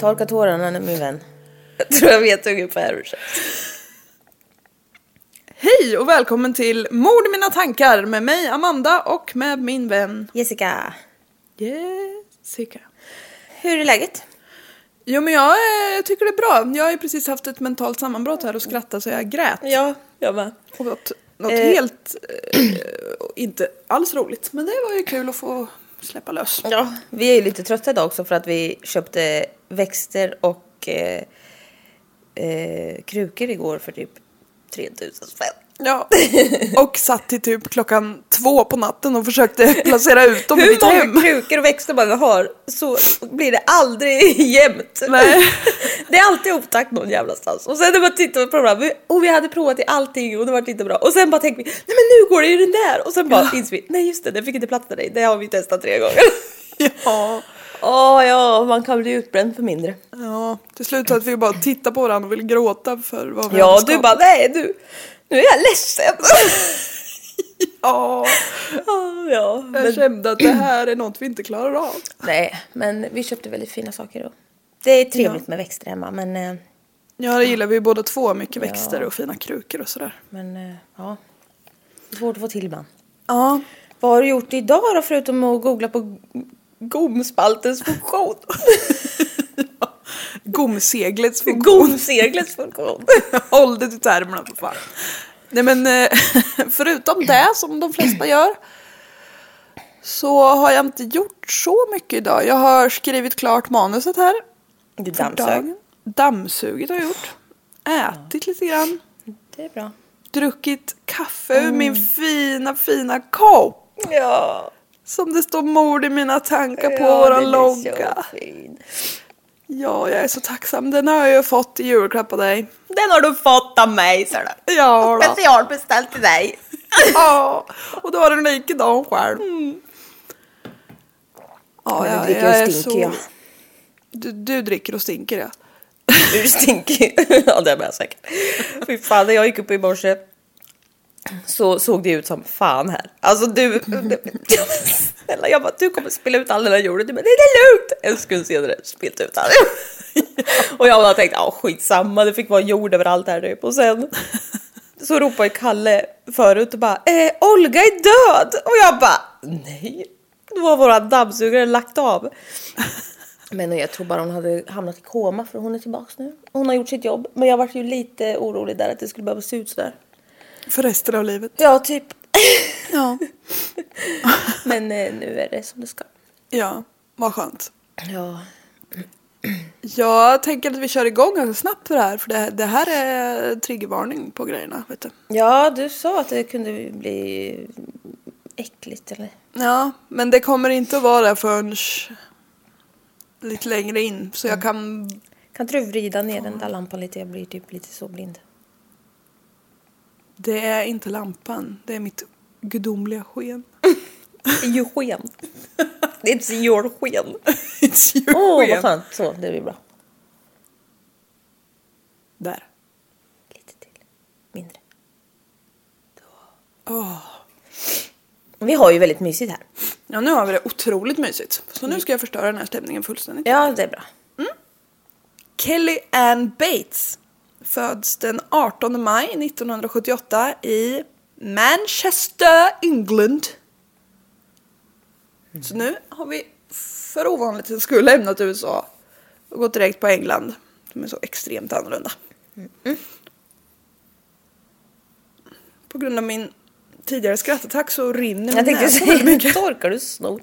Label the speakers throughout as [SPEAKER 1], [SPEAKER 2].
[SPEAKER 1] Torka tårarna nu min vän. Jag tror jag vet ungefär hur det känns.
[SPEAKER 2] Hej och välkommen till Mord i mina tankar med mig Amanda och med min vän
[SPEAKER 1] Jessica,
[SPEAKER 2] Jessica.
[SPEAKER 1] hur är läget?
[SPEAKER 2] Jo men jag eh, tycker det är bra. Jag har ju precis haft ett mentalt sammanbrott här och skrattat så jag grät.
[SPEAKER 1] Ja, jag med.
[SPEAKER 2] Och något något
[SPEAKER 1] Eh.
[SPEAKER 2] helt, eh, inte alls roligt. Men det var ju kul att få släppa lös.
[SPEAKER 1] Ja, vi är ju lite trötta idag också för att vi köpte växter och eh, eh, krukor igår för typ 3000 spänn.
[SPEAKER 2] Ja. Och satt till typ klockan två på natten och försökte placera ut dem i
[SPEAKER 1] Hur
[SPEAKER 2] mitt
[SPEAKER 1] många
[SPEAKER 2] hem.
[SPEAKER 1] krukor och växter man har så blir det aldrig jämnt.
[SPEAKER 2] Nej.
[SPEAKER 1] Det är alltid otakt någon jävla stans. Och sen när man tittar på programmet, och vi hade provat i allting och det var inte bra. Och sen bara tänker vi, nej men nu går det ju den där! Och sen bara inser vi, nej just det, den fick inte plats där i. Det har vi testat tre gånger.
[SPEAKER 2] Ja.
[SPEAKER 1] Åh ja, man kan bli utbränd för mindre.
[SPEAKER 2] ja, till slut så att vi bara tittar på varandra och vill gråta för vad vi
[SPEAKER 1] Ja,
[SPEAKER 2] hade
[SPEAKER 1] du
[SPEAKER 2] skapat.
[SPEAKER 1] bara, nej du, nu är jag ledsen.
[SPEAKER 2] Ja,
[SPEAKER 1] Åh, ja,
[SPEAKER 2] jag
[SPEAKER 1] men,
[SPEAKER 2] kände att det här är något vi inte klarar av.
[SPEAKER 1] nej, men vi köpte väldigt fina saker då. Det är trevligt
[SPEAKER 2] Ja.
[SPEAKER 1] med växter hemma, men, eh,
[SPEAKER 2] Ja, det gillar vi ju båda två. Mycket växter och fina krukor och sådär.
[SPEAKER 1] men eh, ja, det är svårt att få till ibland.
[SPEAKER 2] Ja.
[SPEAKER 1] Vad har du gjort idag då förutom att googla på gomspaltens funktion?
[SPEAKER 2] Gomseglets funktion.
[SPEAKER 1] Gomseglets funktion.
[SPEAKER 2] Håll dig till termerna för fan. Nej men eh, förutom det som de flesta gör så har jag inte gjort så mycket idag. Jag har skrivit klart manuset här.
[SPEAKER 1] Du
[SPEAKER 2] för
[SPEAKER 1] dammsög.
[SPEAKER 2] dagen. Dammsugit har jag gjort. Ätit lite grann.
[SPEAKER 1] Det är bra.
[SPEAKER 2] Druckit kaffe ur min fina fina kopp.
[SPEAKER 1] Ja.
[SPEAKER 2] Som det står mord i mina tankar på
[SPEAKER 1] ja,
[SPEAKER 2] våran
[SPEAKER 1] den är så
[SPEAKER 2] logga.
[SPEAKER 1] fin.
[SPEAKER 2] Ja, jag är så tacksam. Den har jag ju fått i julklapp av dig.
[SPEAKER 1] Den har du fått av mig sa du.
[SPEAKER 2] Ja, då.
[SPEAKER 1] Specialbeställd till dig.
[SPEAKER 2] ja. Och då har den likadan själv. Ja,
[SPEAKER 1] Men Mm. du
[SPEAKER 2] jag,
[SPEAKER 1] dricker
[SPEAKER 2] jag
[SPEAKER 1] och
[SPEAKER 2] är
[SPEAKER 1] stinker,
[SPEAKER 2] så...
[SPEAKER 1] ja.
[SPEAKER 2] Du, du dricker och stinker, ja.
[SPEAKER 1] Du stinker. ja det är jag säkert. Fy fan när jag gick upp i morse så såg det ut som fan här. Alltså du. Snälla jag bara du kommer spilla ut all den här jorden. Du bara det är lugnt. En sekund senare spillt ut all Och jag bara tänkte ja skitsamma det fick vara jord överallt här typ. Och sen så ropade Kalle förut och bara eh, Olga är död. Och jag bara nej. Då har våra dammsugare lagt av. Men jag tror bara hon hade hamnat i koma för hon är tillbaks nu. Hon har gjort sitt jobb. Men jag var ju lite orolig där att det skulle behöva se ut sådär.
[SPEAKER 2] För resten av livet.
[SPEAKER 1] Ja, typ.
[SPEAKER 2] Ja.
[SPEAKER 1] Men eh, nu är det som det ska.
[SPEAKER 2] Ja, vad skönt.
[SPEAKER 1] Ja.
[SPEAKER 2] Jag tänker att vi kör igång ganska snabbt för det här. För det, det här är triggervarning på grejerna, vet du.
[SPEAKER 1] Ja, du sa att det kunde bli äckligt eller?
[SPEAKER 2] Ja, men det kommer inte att vara förrän lite längre in. Så
[SPEAKER 1] Mm.
[SPEAKER 2] jag kan...
[SPEAKER 1] Kan inte du vrida ner den där lampan lite? Jag blir typ lite så blind.
[SPEAKER 2] Det är inte lampan, det är mitt gudomliga sken.
[SPEAKER 1] Eugen. It's your sken.
[SPEAKER 2] It's
[SPEAKER 1] Åh,
[SPEAKER 2] your
[SPEAKER 1] vad
[SPEAKER 2] sken.
[SPEAKER 1] skönt. Så, det blir bra.
[SPEAKER 2] Där.
[SPEAKER 1] Lite till. Mindre.
[SPEAKER 2] Åh.
[SPEAKER 1] Vi har ju väldigt mysigt här.
[SPEAKER 2] Ja, nu har vi det otroligt mysigt. Så
[SPEAKER 1] Mm.
[SPEAKER 2] nu ska jag förstöra den här stämningen fullständigt.
[SPEAKER 1] Ja, det är bra.
[SPEAKER 2] Kelly Ann Bates föds den 18 maj 1978 i Manchester, England.
[SPEAKER 1] Mm.
[SPEAKER 2] Så nu har vi för ovanligt skull lämnat USA och gått direkt på England som är så extremt annorlunda.
[SPEAKER 1] Mm.
[SPEAKER 2] På grund av min tidigare skrattattack så rinner min
[SPEAKER 1] Jag tänkte
[SPEAKER 2] näsa
[SPEAKER 1] säga, nu torkar du snor.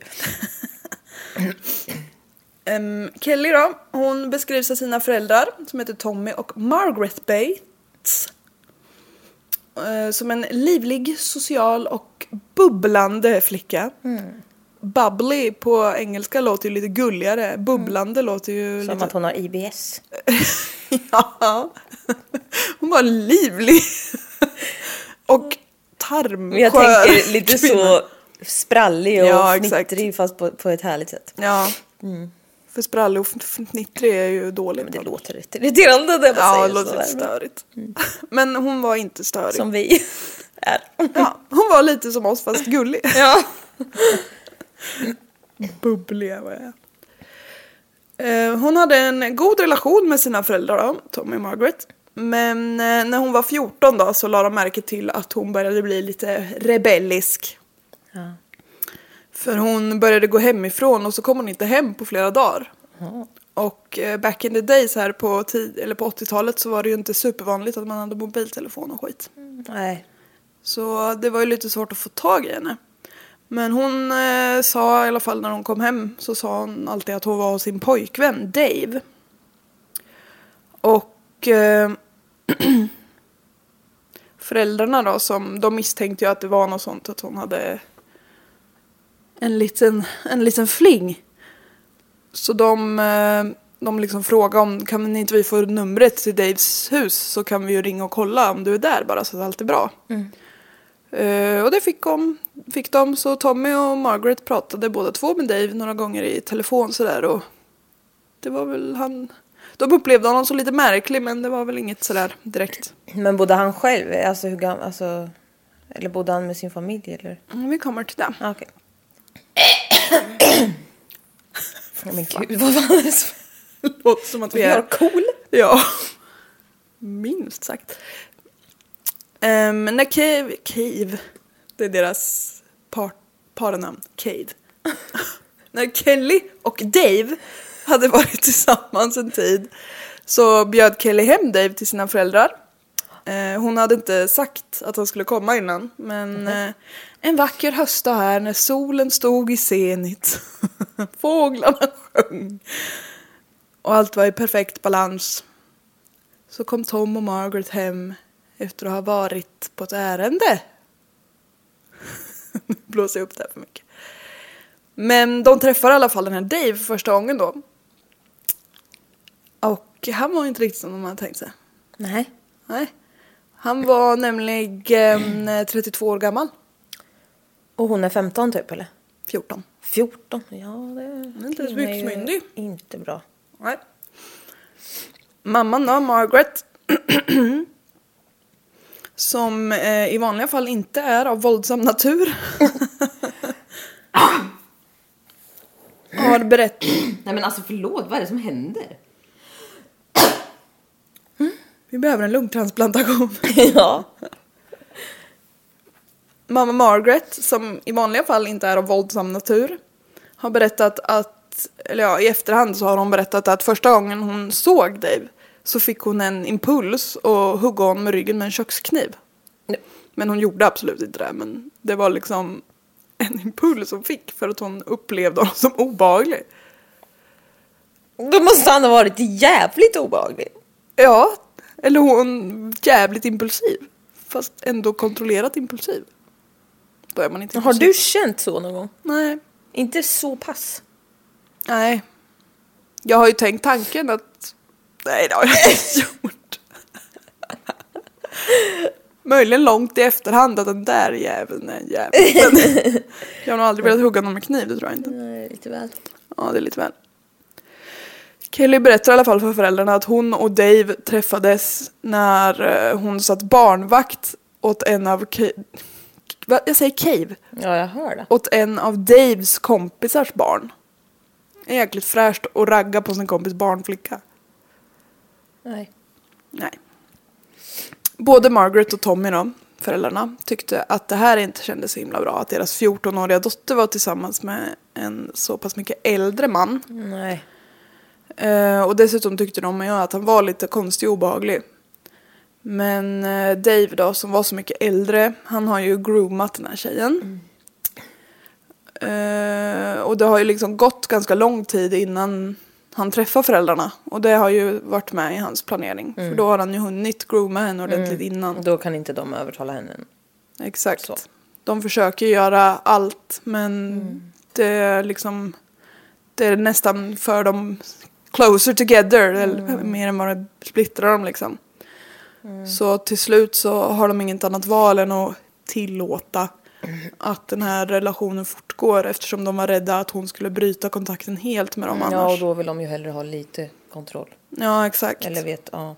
[SPEAKER 2] Ehm, Kelly då, hon beskrivs av sina föräldrar som heter Tommy och Margaret Bates. eh, Som en livlig, social och bubblande flicka.
[SPEAKER 1] Mm.
[SPEAKER 2] Bubbly på engelska låter ju lite gulligare. Bubblande
[SPEAKER 1] Mm.
[SPEAKER 2] låter ju
[SPEAKER 1] Som att
[SPEAKER 2] lite...
[SPEAKER 1] hon har IBS.
[SPEAKER 2] ja. Hon var livlig. och tarmskör.
[SPEAKER 1] Men jag tänker lite
[SPEAKER 2] kvinna.
[SPEAKER 1] så sprallig och
[SPEAKER 2] Ja, exakt.
[SPEAKER 1] fnittrig fast på, på ett härligt sätt.
[SPEAKER 2] Ja. För sprallig och fnittrig är ju dåligt.
[SPEAKER 1] Mm. Men det låter rätt irriterande när man
[SPEAKER 2] Ja,
[SPEAKER 1] säger
[SPEAKER 2] det låter
[SPEAKER 1] sådär,
[SPEAKER 2] lite störigt. Men hon var inte
[SPEAKER 1] men
[SPEAKER 2] störig.
[SPEAKER 1] Som vi är.
[SPEAKER 2] Ja, hon var lite som oss fast gullig.
[SPEAKER 1] Ja.
[SPEAKER 2] Bubbliga var jag. Eh, Hon hade en god relation med sina föräldrar då, Tommy och Margaret. Men eh, när hon var 14 då så la de märke till att hon började bli lite rebellisk. För hon började gå hemifrån och så kom hon inte hem på flera dagar. Och eh, back in the days här på, tid- eller på 80-talet så var det ju inte supervanligt att man hade mobiltelefon och skit.
[SPEAKER 1] Nej.
[SPEAKER 2] Så det var ju lite svårt att få tag i henne. Men hon eh, sa i alla fall när hon kom hem så sa hon alltid att hon var hos sin pojkvän Dave. Och eh, föräldrarna då som de misstänkte ju att det var något sånt att hon hade en liten, en liten fling. Så de, eh, de liksom frågade om kan inte vi få numret till Daves hus så kan vi ju ringa och kolla om du är där bara så att allt är bra. Eh, och det fick de, fick de. Så Tommy och Margaret pratade båda två med Dave några gånger i telefon sådär. Och det var väl han... De upplevde honom som lite märklig men det var väl inget sådär direkt.
[SPEAKER 1] Men bodde han själv? Alltså hur gammal? Alltså, eller bodde han med sin familj eller?
[SPEAKER 2] Mm, Vi kommer till det.
[SPEAKER 1] Ah, Okej. Men gud vad fan är det som...
[SPEAKER 2] Låter som att
[SPEAKER 1] Vi är cool.
[SPEAKER 2] Ja. Minst sagt. Ehm, när Cave... Cave. Det är deras par, parnamn. Cave. när Kelly och Dave hade varit tillsammans en tid så bjöd Kelly hem Dave till sina föräldrar. Eh, hon hade inte sagt att han skulle komma innan men eh, en vacker höstdag här när solen stod i zenit. Fåglarna sjöng. Och allt var i perfekt balans. Så kom Tom och Margaret hem efter att ha varit på ett ärende. nu blåser jag upp det här för mycket. Men de träffar i alla fall den här Dave för första gången då. Och han var inte riktigt som de hade tänkt sig.
[SPEAKER 1] Nej.
[SPEAKER 2] Nej. Han var nämligen eh, 32 år gammal.
[SPEAKER 1] Och hon är 15 typ eller?
[SPEAKER 2] 14.
[SPEAKER 1] 14? Ja det
[SPEAKER 2] är inte ens
[SPEAKER 1] klingar ju
[SPEAKER 2] byxmyndig.
[SPEAKER 1] Inte bra.
[SPEAKER 2] Nej. Mamman då, Margaret. som eh, i vanliga fall inte är av våldsam natur. har berättat...
[SPEAKER 3] Nej men alltså förlåt, vad är det som händer?
[SPEAKER 2] Vi behöver en lungtransplantation.
[SPEAKER 1] ja.
[SPEAKER 2] Mamma Margaret, som i vanliga fall inte är av våldsam natur, har berättat att, eller ja, i efterhand så har hon berättat att första gången hon såg Dave så fick hon en impuls och hugga honom med ryggen med en kökskniv.
[SPEAKER 1] Nej.
[SPEAKER 2] Men hon gjorde absolut inte det, men det var liksom en impuls hon fick för att hon upplevde honom som obehaglig.
[SPEAKER 1] Då måste han ha varit jävligt obehaglig.
[SPEAKER 2] Ja, eller hon jävligt impulsiv. Fast ändå kontrollerat impulsiv. Då är man inte
[SPEAKER 1] Har
[SPEAKER 2] impulsiv.
[SPEAKER 1] du känt så någon gång?
[SPEAKER 2] Nej.
[SPEAKER 1] Inte så pass.
[SPEAKER 2] Nej. Jag har ju tänkt tanken att... Nej, det har jag inte gjort. Möjligen långt i efterhand att den där jäveln är en jävel. Men jag har nog aldrig velat hugga någon med kniv, det tror jag inte.
[SPEAKER 1] Nej, lite väl.
[SPEAKER 2] Ja, det är lite väl. Kelly berättar i alla fall för föräldrarna att hon och Dave träffades när eh, hon satt barnvakt åt en av... Ca- Va? Jag säger Cave.
[SPEAKER 1] Ja, jag hör det.
[SPEAKER 2] Åt en av Daves kompisars barn. Är jäkligt fräscht att ragga på sin kompis barnflicka.
[SPEAKER 1] Nej.
[SPEAKER 2] Nej. Både Margaret och Tommy då, föräldrarna, tyckte att det här inte kändes så himla bra. Att deras 14-åriga dotter var tillsammans med en så pass mycket äldre man.
[SPEAKER 1] Nej.
[SPEAKER 2] Eh, och dessutom tyckte de ju att han var lite konstig och obehaglig. Men eh, Dave då, som var så mycket äldre, han har ju groomat den här tjejen. Eh, och det har ju liksom gått ganska lång tid innan han träffar föräldrarna. Och det har ju varit med i hans planering. För då har han ju hunnit grooma henne ordentligt innan.
[SPEAKER 1] Då kan inte de övertala henne.
[SPEAKER 2] Exakt.
[SPEAKER 1] Så.
[SPEAKER 2] De försöker göra allt men
[SPEAKER 1] Mm.
[SPEAKER 2] det är liksom det är nästan för dem closer together eller
[SPEAKER 1] Mm.
[SPEAKER 2] mer än vad det splittrar dem liksom. Så till slut så har de inget annat val än att tillåta att den här relationen fortgår eftersom de var rädda att hon skulle bryta kontakten helt med dem
[SPEAKER 1] Mm, Ja, och
[SPEAKER 2] annars.
[SPEAKER 1] då vill de ju hellre ha lite kontroll.
[SPEAKER 2] Ja, exakt.
[SPEAKER 1] Eller vet, ja.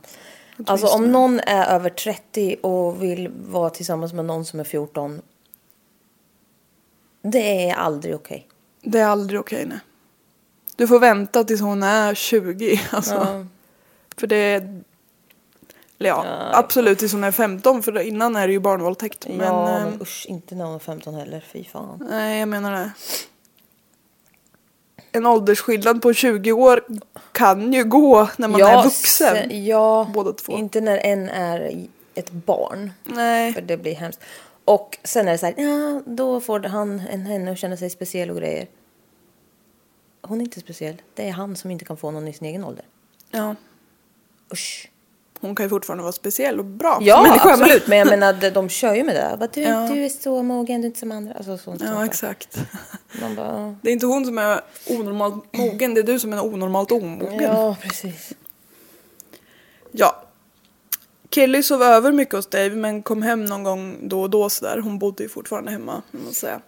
[SPEAKER 1] Alltså om någon är över 30 och vill vara tillsammans med någon som är 14. Det är aldrig okej.
[SPEAKER 2] Det är aldrig okej nej. Du får vänta tills hon är 20 alltså. För det är... Eller ja, absolut tills hon är 15 för innan är det ju barnvåldtäkt. Men,
[SPEAKER 1] ja,
[SPEAKER 2] eh,
[SPEAKER 1] men ehm, usch, inte när hon är 15 heller. Fy fan.
[SPEAKER 2] Nej, jag menar det. En åldersskillnad på 20 år kan ju gå när man är vuxen.
[SPEAKER 1] se- Ja,
[SPEAKER 2] Båda två.
[SPEAKER 1] inte när en är ett barn. För
[SPEAKER 2] Nej,
[SPEAKER 1] det blir hemskt. Och sen är det så här, ja, då får han en henne att känna sig speciell och grejer. Hon är inte speciell. Det är han som inte kan få någon i sin egen ålder.
[SPEAKER 2] ja.
[SPEAKER 1] Usch.
[SPEAKER 2] Hon kan ju fortfarande vara speciell och bra
[SPEAKER 1] Ja,
[SPEAKER 2] som människa, men-
[SPEAKER 1] absolut. Men jag menar, de- de kör ju med det. Bara, du,
[SPEAKER 2] Ja.
[SPEAKER 1] du är så mogen, du är inte som andra. Alltså, sånt, sånt
[SPEAKER 2] Ja,
[SPEAKER 1] där.
[SPEAKER 2] exakt.
[SPEAKER 1] Man bara,
[SPEAKER 2] Det är inte hon som är onormalt mogen, det är du som är onormalt omogen.
[SPEAKER 1] ja, precis.
[SPEAKER 2] Ja. Kelly sov över mycket hos Dave men kom hem någon gång då och då sådär. Hon bodde ju fortfarande hemma, kan man säga.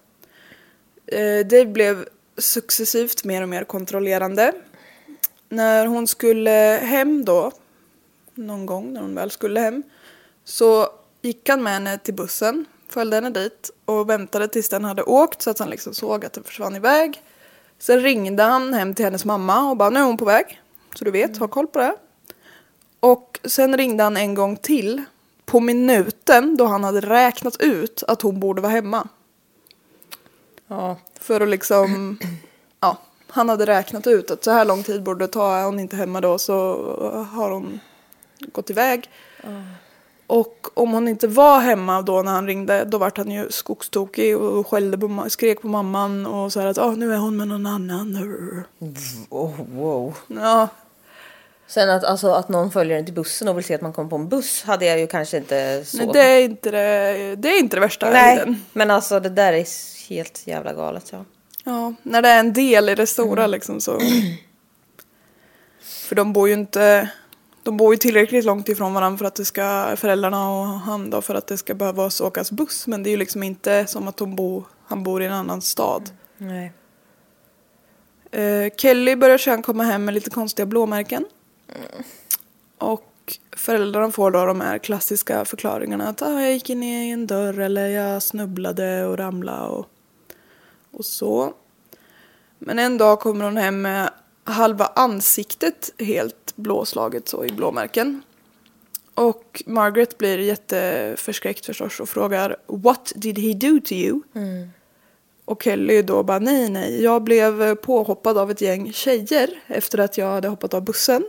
[SPEAKER 2] Eh, Dave blev successivt mer och mer kontrollerande. När hon skulle hem då, någon gång när hon väl skulle hem, så gick han med henne till bussen, följde henne dit och väntade tills den hade åkt så att han liksom såg att den försvann iväg. Sen ringde han hem till hennes mamma och bara nu är hon på väg. Så du vet, ha koll på det. Och sen ringde han en gång till på minuten då han hade räknat ut att hon borde vara hemma.
[SPEAKER 1] Ja,
[SPEAKER 2] För att liksom, ja, han hade räknat ut att så här lång tid borde det ta, är hon inte hemma då så har hon gått iväg. Och om hon inte var hemma då när han ringde, då vart han ju skogstokig och skällde på, ma- skrek på mamman och så här att ah, nu är hon med någon
[SPEAKER 1] Mm.
[SPEAKER 2] annan.
[SPEAKER 1] oh, wow.
[SPEAKER 2] Ja,
[SPEAKER 1] Sen att, alltså, att någon följer en till bussen och vill se att man kommer på en buss hade jag ju kanske inte så.
[SPEAKER 2] nej, det, är inte det, det är inte det värsta i den.
[SPEAKER 1] Nej, men alltså det där är helt jävla galet. Ja.
[SPEAKER 2] Ja, när det är en del i det stora liksom så. För de bor ju inte, de bor ju tillräckligt långt ifrån varandra för att det ska, föräldrarna och han då, för att det ska behövas åkas buss. Men det är ju liksom inte som att de bor, han bor i en annan stad.
[SPEAKER 1] Nej.
[SPEAKER 2] Eh, Kelly börjar sedan komma hem med lite konstiga blåmärken. Och föräldrarna får då de här klassiska förklaringarna att ah, jag gick in i en dörr eller jag snubblade och ramlade och, och så. Men en dag kommer hon hem med halva ansiktet helt blåslaget så i blåmärken. Och Margaret blir jätteförskräckt förstås och frågar What did he do to you?
[SPEAKER 1] Mm.
[SPEAKER 2] Och Kelly då bara nej, nej. Jag blev påhoppad av ett gäng tjejer efter att jag hade hoppat av bussen.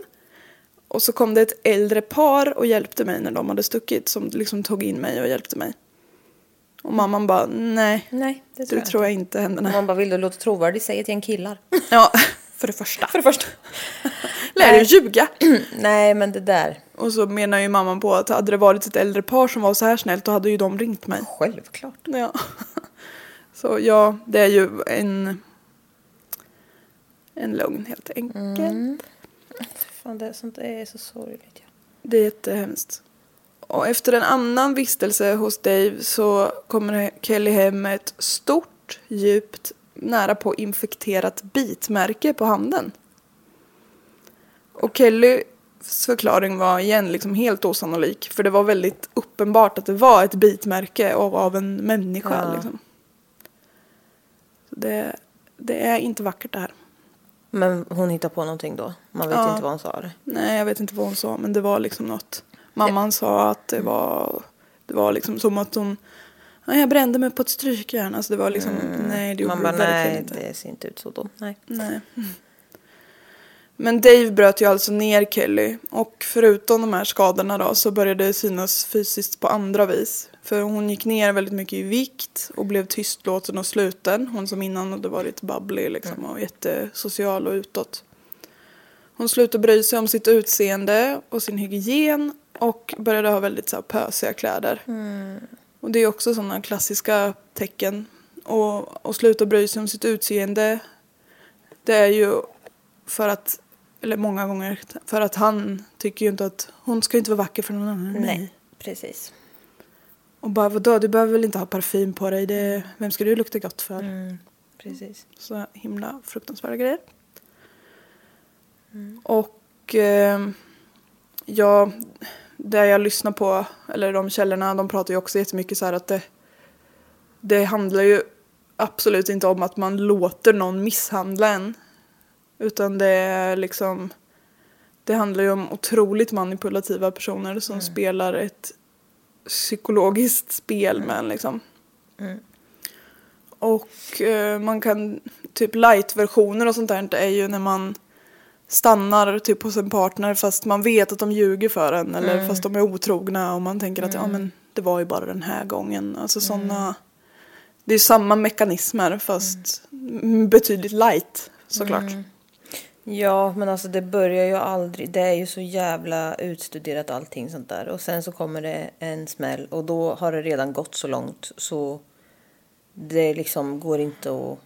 [SPEAKER 2] Och så kom det ett äldre par och hjälpte mig när de hade stuckit. Som liksom tog in mig och hjälpte mig. Och mamman bara nej,
[SPEAKER 1] Nej, det tror
[SPEAKER 2] det
[SPEAKER 1] jag
[SPEAKER 2] tror jag inte hände.
[SPEAKER 1] inte.
[SPEAKER 2] Nej.
[SPEAKER 1] Man bara, vill du låta trovärdig? Säg ett gäng killar.
[SPEAKER 2] Ja, för det första.
[SPEAKER 1] För det första.
[SPEAKER 2] Lär dig ljuga.
[SPEAKER 1] Nej, men det där.
[SPEAKER 2] Och så menar ju mamman på att hade det varit ett äldre par som var så här snällt då hade ju de ringt mig.
[SPEAKER 1] Självklart.
[SPEAKER 2] Ja. Så ja, det är ju en, en lögn helt enkelt.
[SPEAKER 1] Mm. Fan, det, sånt är så sorgligt. Ja.
[SPEAKER 2] Det är jättehemskt. Och efter en annan vistelse hos Dave så kommer Kelly hem med ett stort, djupt, nära på infekterat bitmärke på handen. Och Kellys förklaring var igen liksom helt osannolik. För det var väldigt uppenbart att det var ett bitmärke av, av en människa.
[SPEAKER 1] Ja.
[SPEAKER 2] Liksom. Så det, det är inte vackert det här.
[SPEAKER 1] Men hon hittar på någonting då. Man vet
[SPEAKER 2] Ja.
[SPEAKER 1] inte vad hon sa.
[SPEAKER 2] Nej, jag vet inte vad hon sa, men det var liksom något. Mamman sa att det var, det var liksom som att hon... "Ja, Jag brände mig på ett strykjärn. Alltså det var liksom... Nej, det gjorde
[SPEAKER 1] Mm. Man
[SPEAKER 2] du
[SPEAKER 1] bara,
[SPEAKER 2] verkligen
[SPEAKER 1] nej,
[SPEAKER 2] inte.
[SPEAKER 1] det ser inte ut så då. Nej.
[SPEAKER 2] Nej. Men Dave bröt ju alltså ner Kelly och förutom de här skadorna då så började det synas fysiskt på andra vis. För hon gick ner väldigt mycket i vikt och blev tystlåten och sluten. Hon som innan hade varit bubbly
[SPEAKER 1] Mm.
[SPEAKER 2] liksom och jättesocial och utåt. Hon slutade bry sig om sitt utseende och sin hygien och började ha väldigt så här, pösiga kläder. Och det är också sådana klassiska tecken. Och, och sluta bry sig om sitt utseende det är ju för att, eller många gånger, för att han tycker ju inte att hon ska ju inte vara vacker för någon annan.
[SPEAKER 1] Nej, precis.
[SPEAKER 2] Och bara vadå, du behöver väl inte ha parfym på dig, det, vem ska du lukta gott för?
[SPEAKER 1] Precis.
[SPEAKER 2] Så himla fruktansvärda grejer. Och eh, ja, det jag lyssnar på, eller de källorna, de pratar ju också jättemycket så här att det, det handlar ju absolut inte om att man låter någon misshandla en. Utan det är liksom, det handlar ju om otroligt manipulativa personer som spelar ett psykologiskt spel med en liksom. Och eh, man kan, typ light-versioner och sånt där är ju när man stannar typ hos en partner fast man vet att de ljuger för en eller fast de är otrogna och man tänker att ja men det var ju bara den här gången. Alltså sådana, det är samma mekanismer fast m- betydligt light såklart.
[SPEAKER 1] Ja, men alltså det börjar ju aldrig. Det är ju så jävla utstuderat allting sånt där. Och sen så kommer det en smäll och då har det redan gått så långt så det liksom går inte att...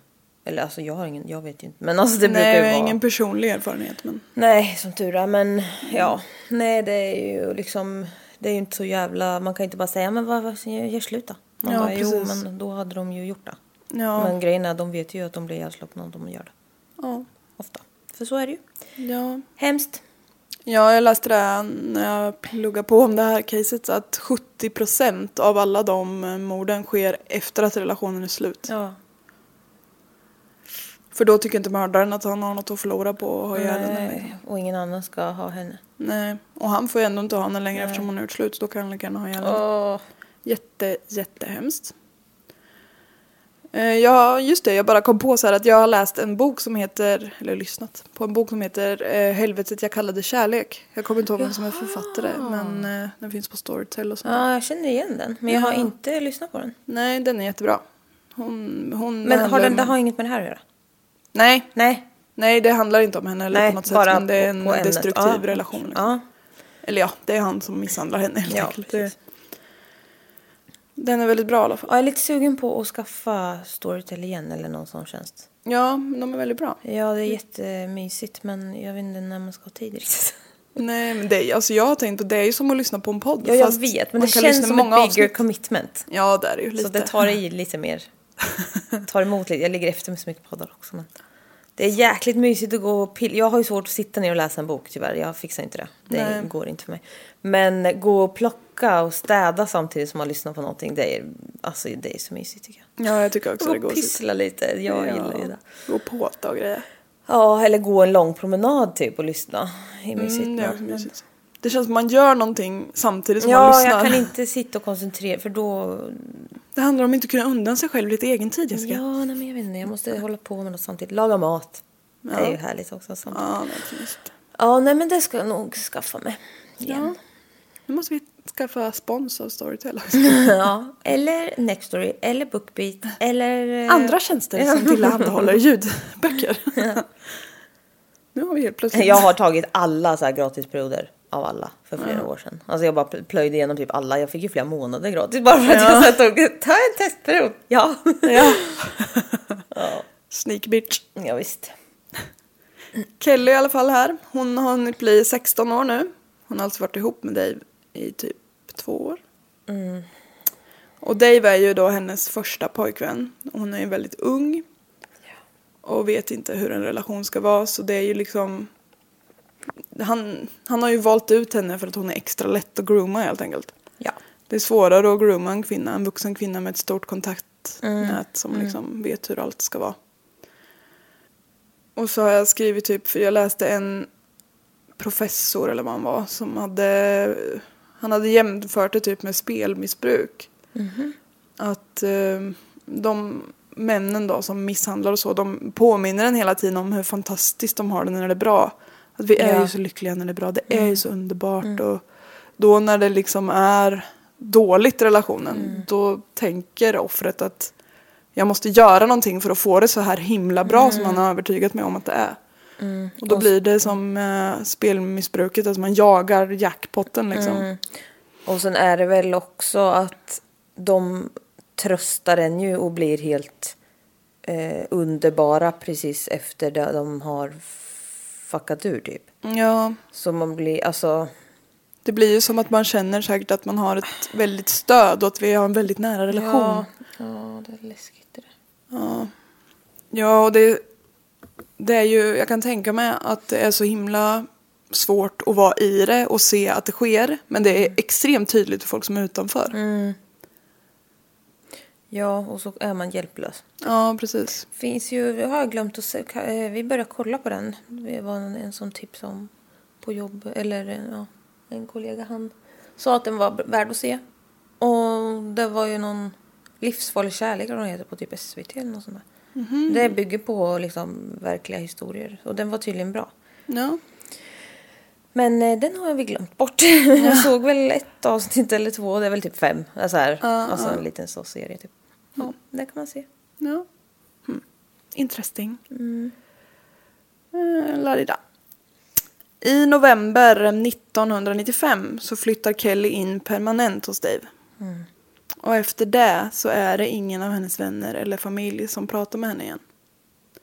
[SPEAKER 1] Eller alltså jag har ingen, jag vet ju inte. Men alltså det brukar
[SPEAKER 2] Nej,
[SPEAKER 1] ju
[SPEAKER 2] jag
[SPEAKER 1] vara...
[SPEAKER 2] har ingen personlig erfarenhet men
[SPEAKER 1] Nej, som tur är. Men ja, nej det är ju liksom... Det är ju inte så jävla... Man kan inte bara säga men vad, vad gör slut då? Man
[SPEAKER 2] Ja,
[SPEAKER 1] bara, jo
[SPEAKER 2] precis.
[SPEAKER 1] men då hade de ju gjort det.
[SPEAKER 2] ja.
[SPEAKER 1] Men grejen är de vet ju att de blir ihjälslagna om de gör det.
[SPEAKER 2] ja.
[SPEAKER 1] Ofta. För så är det ju.
[SPEAKER 2] ja.
[SPEAKER 1] Hemskt.
[SPEAKER 2] Ja, jag läste det här när jag pluggade på om det här caset att 70% av alla de eh, morden sker efter att relationen är slut.
[SPEAKER 1] Ja.
[SPEAKER 2] För då tycker inte mördaren att han har något att förlora på att ha ihjäl henne. liksom.
[SPEAKER 1] Nej. Och ingen annan ska ha henne.
[SPEAKER 2] Nej. Och han får ju ändå inte ha henne längre eftersom hon är utslut. så Då kan han lika gärna ha ihjäl henne.
[SPEAKER 1] Åh.
[SPEAKER 2] Jätte, jättehemskt. Eh, Ja, just det. Jag bara kom på så här att jag har läst en bok som heter, eller lyssnat på en bok som heter eh, Helvetet jag kallade kärlek. Jag kommer inte ihåg vem som är författare
[SPEAKER 1] Ah.
[SPEAKER 2] men eh, den finns på Storytel och sånt. där.
[SPEAKER 1] Ja, jag känner igen den. Men jag har inte lyssnat på den.
[SPEAKER 2] Nej, den är jättebra. Hon, hon
[SPEAKER 1] Men har
[SPEAKER 2] handlar
[SPEAKER 1] den,
[SPEAKER 2] om-
[SPEAKER 1] det har inget med det här att göra?
[SPEAKER 2] Nej,
[SPEAKER 1] Nej.
[SPEAKER 2] nej, det handlar inte om henne eller
[SPEAKER 1] Nej,
[SPEAKER 2] på något sätt.
[SPEAKER 1] bara
[SPEAKER 2] Men det är en
[SPEAKER 1] på- på ämnet.
[SPEAKER 2] destruktiv
[SPEAKER 1] Ja.
[SPEAKER 2] relation. Liksom.
[SPEAKER 1] Ja.
[SPEAKER 2] Eller ja, det är han som misshandlar henne helt
[SPEAKER 1] Ja,
[SPEAKER 2] enkelt.
[SPEAKER 1] precis.
[SPEAKER 2] Den är väldigt bra i alla
[SPEAKER 1] ja,
[SPEAKER 2] fall.
[SPEAKER 1] jag är lite sugen på att skaffa Storytel igen eller någon sån tjänst.
[SPEAKER 2] Ja, men de är väldigt bra.
[SPEAKER 1] Ja, det är jättemysigt men jag vet inte när man ska ha tid riktigt.
[SPEAKER 2] Nej, men det, alltså jag har tänkt på det är ju som att lyssna på en podd.
[SPEAKER 1] Ja, jag
[SPEAKER 2] fast
[SPEAKER 1] vet men
[SPEAKER 2] man
[SPEAKER 1] det
[SPEAKER 2] kan lyssna
[SPEAKER 1] känns som
[SPEAKER 2] på
[SPEAKER 1] ett bigger
[SPEAKER 2] avsnitt.
[SPEAKER 1] commitment.
[SPEAKER 2] Ja, det är det ju lite.
[SPEAKER 1] Så det tar i lite mer. Tar emot lite. Jag ligger efter med så mycket poddar också. Men det är jäkligt mysigt att gå och pilla. Jag har ju svårt att sitta ner och läsa en bok tyvärr. Jag fixar inte det. Det
[SPEAKER 2] Nej.
[SPEAKER 1] går inte för mig. Men gå och plocka och städa samtidigt som man lyssnar på någonting. Det är, alltså, det är så mysigt tycker jag.
[SPEAKER 2] Ja, jag tycker också det är
[SPEAKER 1] Gå och
[SPEAKER 2] gosigt.
[SPEAKER 1] pyssla lite. Jag gillar ju det.
[SPEAKER 2] Gå och påta och grejer.
[SPEAKER 1] Ja, eller gå en lång promenad typ och lyssna. Det är mysigt.
[SPEAKER 2] Mm, det,
[SPEAKER 1] med.
[SPEAKER 2] är också mysigt. det känns som man gör någonting samtidigt som man
[SPEAKER 1] Ja,
[SPEAKER 2] lyssnar.
[SPEAKER 1] jag kan inte sitta och koncentrera för då...
[SPEAKER 2] Det handlar om att inte kunna undan sig själv lite egen tid, Jessica.
[SPEAKER 1] Ja, nej, men jag Mm. vet inte. Jag måste hålla på med något samtidigt. Laga mat. Det är ju härligt också samtidigt.
[SPEAKER 2] Ja, det är just.
[SPEAKER 1] Ja, nej men det ska jag nog skaffa mig igen.
[SPEAKER 2] Nu måste vi skaffa spons av Storytel.
[SPEAKER 1] Ja. Eller Nextory, eller Bookbeat, eller... eh,
[SPEAKER 2] Andra tjänster som tillhandahåller ljudböcker. nu har vi helt plötsligt...
[SPEAKER 1] Jag har tagit alla så här gratisperioder av alla för flera år sedan. Alltså jag bara pl- plöjde igenom typ alla. Jag fick ju flera månader gratis bara för att jag så här tog ta en testperiod. Ja.
[SPEAKER 2] Ja. Sneak bitch.
[SPEAKER 1] ja visst.
[SPEAKER 2] Kelly i alla fall här. Hon har hunnit bli 16 år nu. Hon har alltså varit ihop med Dave i typ två år. Och Dave är ju då hennes första pojkvän. Hon är ju väldigt ung. Och vet inte hur en relation ska vara så det är ju liksom han, han har ju valt ut henne för att hon är extra lätt att grooma helt enkelt.
[SPEAKER 1] Ja.
[SPEAKER 2] Det är svårare att grooma en kvinna, en vuxen kvinna med ett stort kontaktnät som liksom vet hur allt ska vara. Och så har jag skrivit typ, för jag läste en professor eller vad han var som hade, han hade jämfört det typ med spelmissbruk. Att eh, de männen då som misshandlar och så, de påminner en hela tiden om hur fantastiskt de har det när det är bra. Att vi är
[SPEAKER 1] Ja.
[SPEAKER 2] ju så lyckliga när det är bra, det är ju så underbart. Och då när det liksom är dåligt i relationen, då tänker offret att jag måste göra någonting för att få det så här himla bra som han har övertygat mig om att det är. Och då blir det som eh, spelmissbruket, att man jagar jackpotten liksom.
[SPEAKER 1] Och sen är det väl också att de tröstar en ju och blir helt eh, underbara precis efter det de har fuckat ur typ.
[SPEAKER 2] Ja,
[SPEAKER 1] Så man blir, alltså,
[SPEAKER 2] det blir ju som att man känner säkert att man har ett väldigt stöd och att vi har en väldigt nära relation. Ja,
[SPEAKER 1] Ja, det är läskigt det
[SPEAKER 2] och det, det är ju, jag kan tänka mig att det är så himla svårt att vara i det och se att det sker. Men det är extremt tydligt för folk som är utanför.
[SPEAKER 1] Ja, och så är man hjälplös.
[SPEAKER 2] Ja, precis.
[SPEAKER 1] Finns ju, jag har glömt att se, ka- eh, vi började kolla på den. Det var en, en som tipsade om på jobb, eller eh, ja, en kollega han sa att den var b- värd att se. Och det var ju någon livsfarlig kärlek eller vad den heter på typ SVT eller något sånt där. Det bygger på liksom verkliga historier och den var tydligen bra.
[SPEAKER 2] Ja.
[SPEAKER 1] Men eh, den har vi glömt bort. jag såg väl ett avsnitt eller två, det är väl typ fem. Alltså, här, alltså en liten så serie typ. Ja, det kan man se.
[SPEAKER 2] Ja. Hmm. Interesting.
[SPEAKER 1] Mm.
[SPEAKER 2] Eh, Larida. I november 1995 så flyttar Kelly in permanent hos Dave.
[SPEAKER 1] Mm.
[SPEAKER 2] Och efter det så är det ingen av hennes vänner eller familj som pratar med henne igen.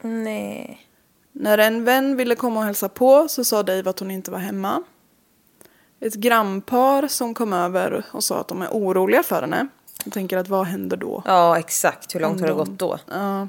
[SPEAKER 1] Nej.
[SPEAKER 2] När en vän ville komma och hälsa på så sa Dave att hon inte var hemma. Ett grannpar som kom över och sa att de är oroliga för henne. Jag tänker att vad händer då?
[SPEAKER 1] Ja, exakt. Hur långt har det
[SPEAKER 2] Om de-
[SPEAKER 1] gått då?
[SPEAKER 2] Ja.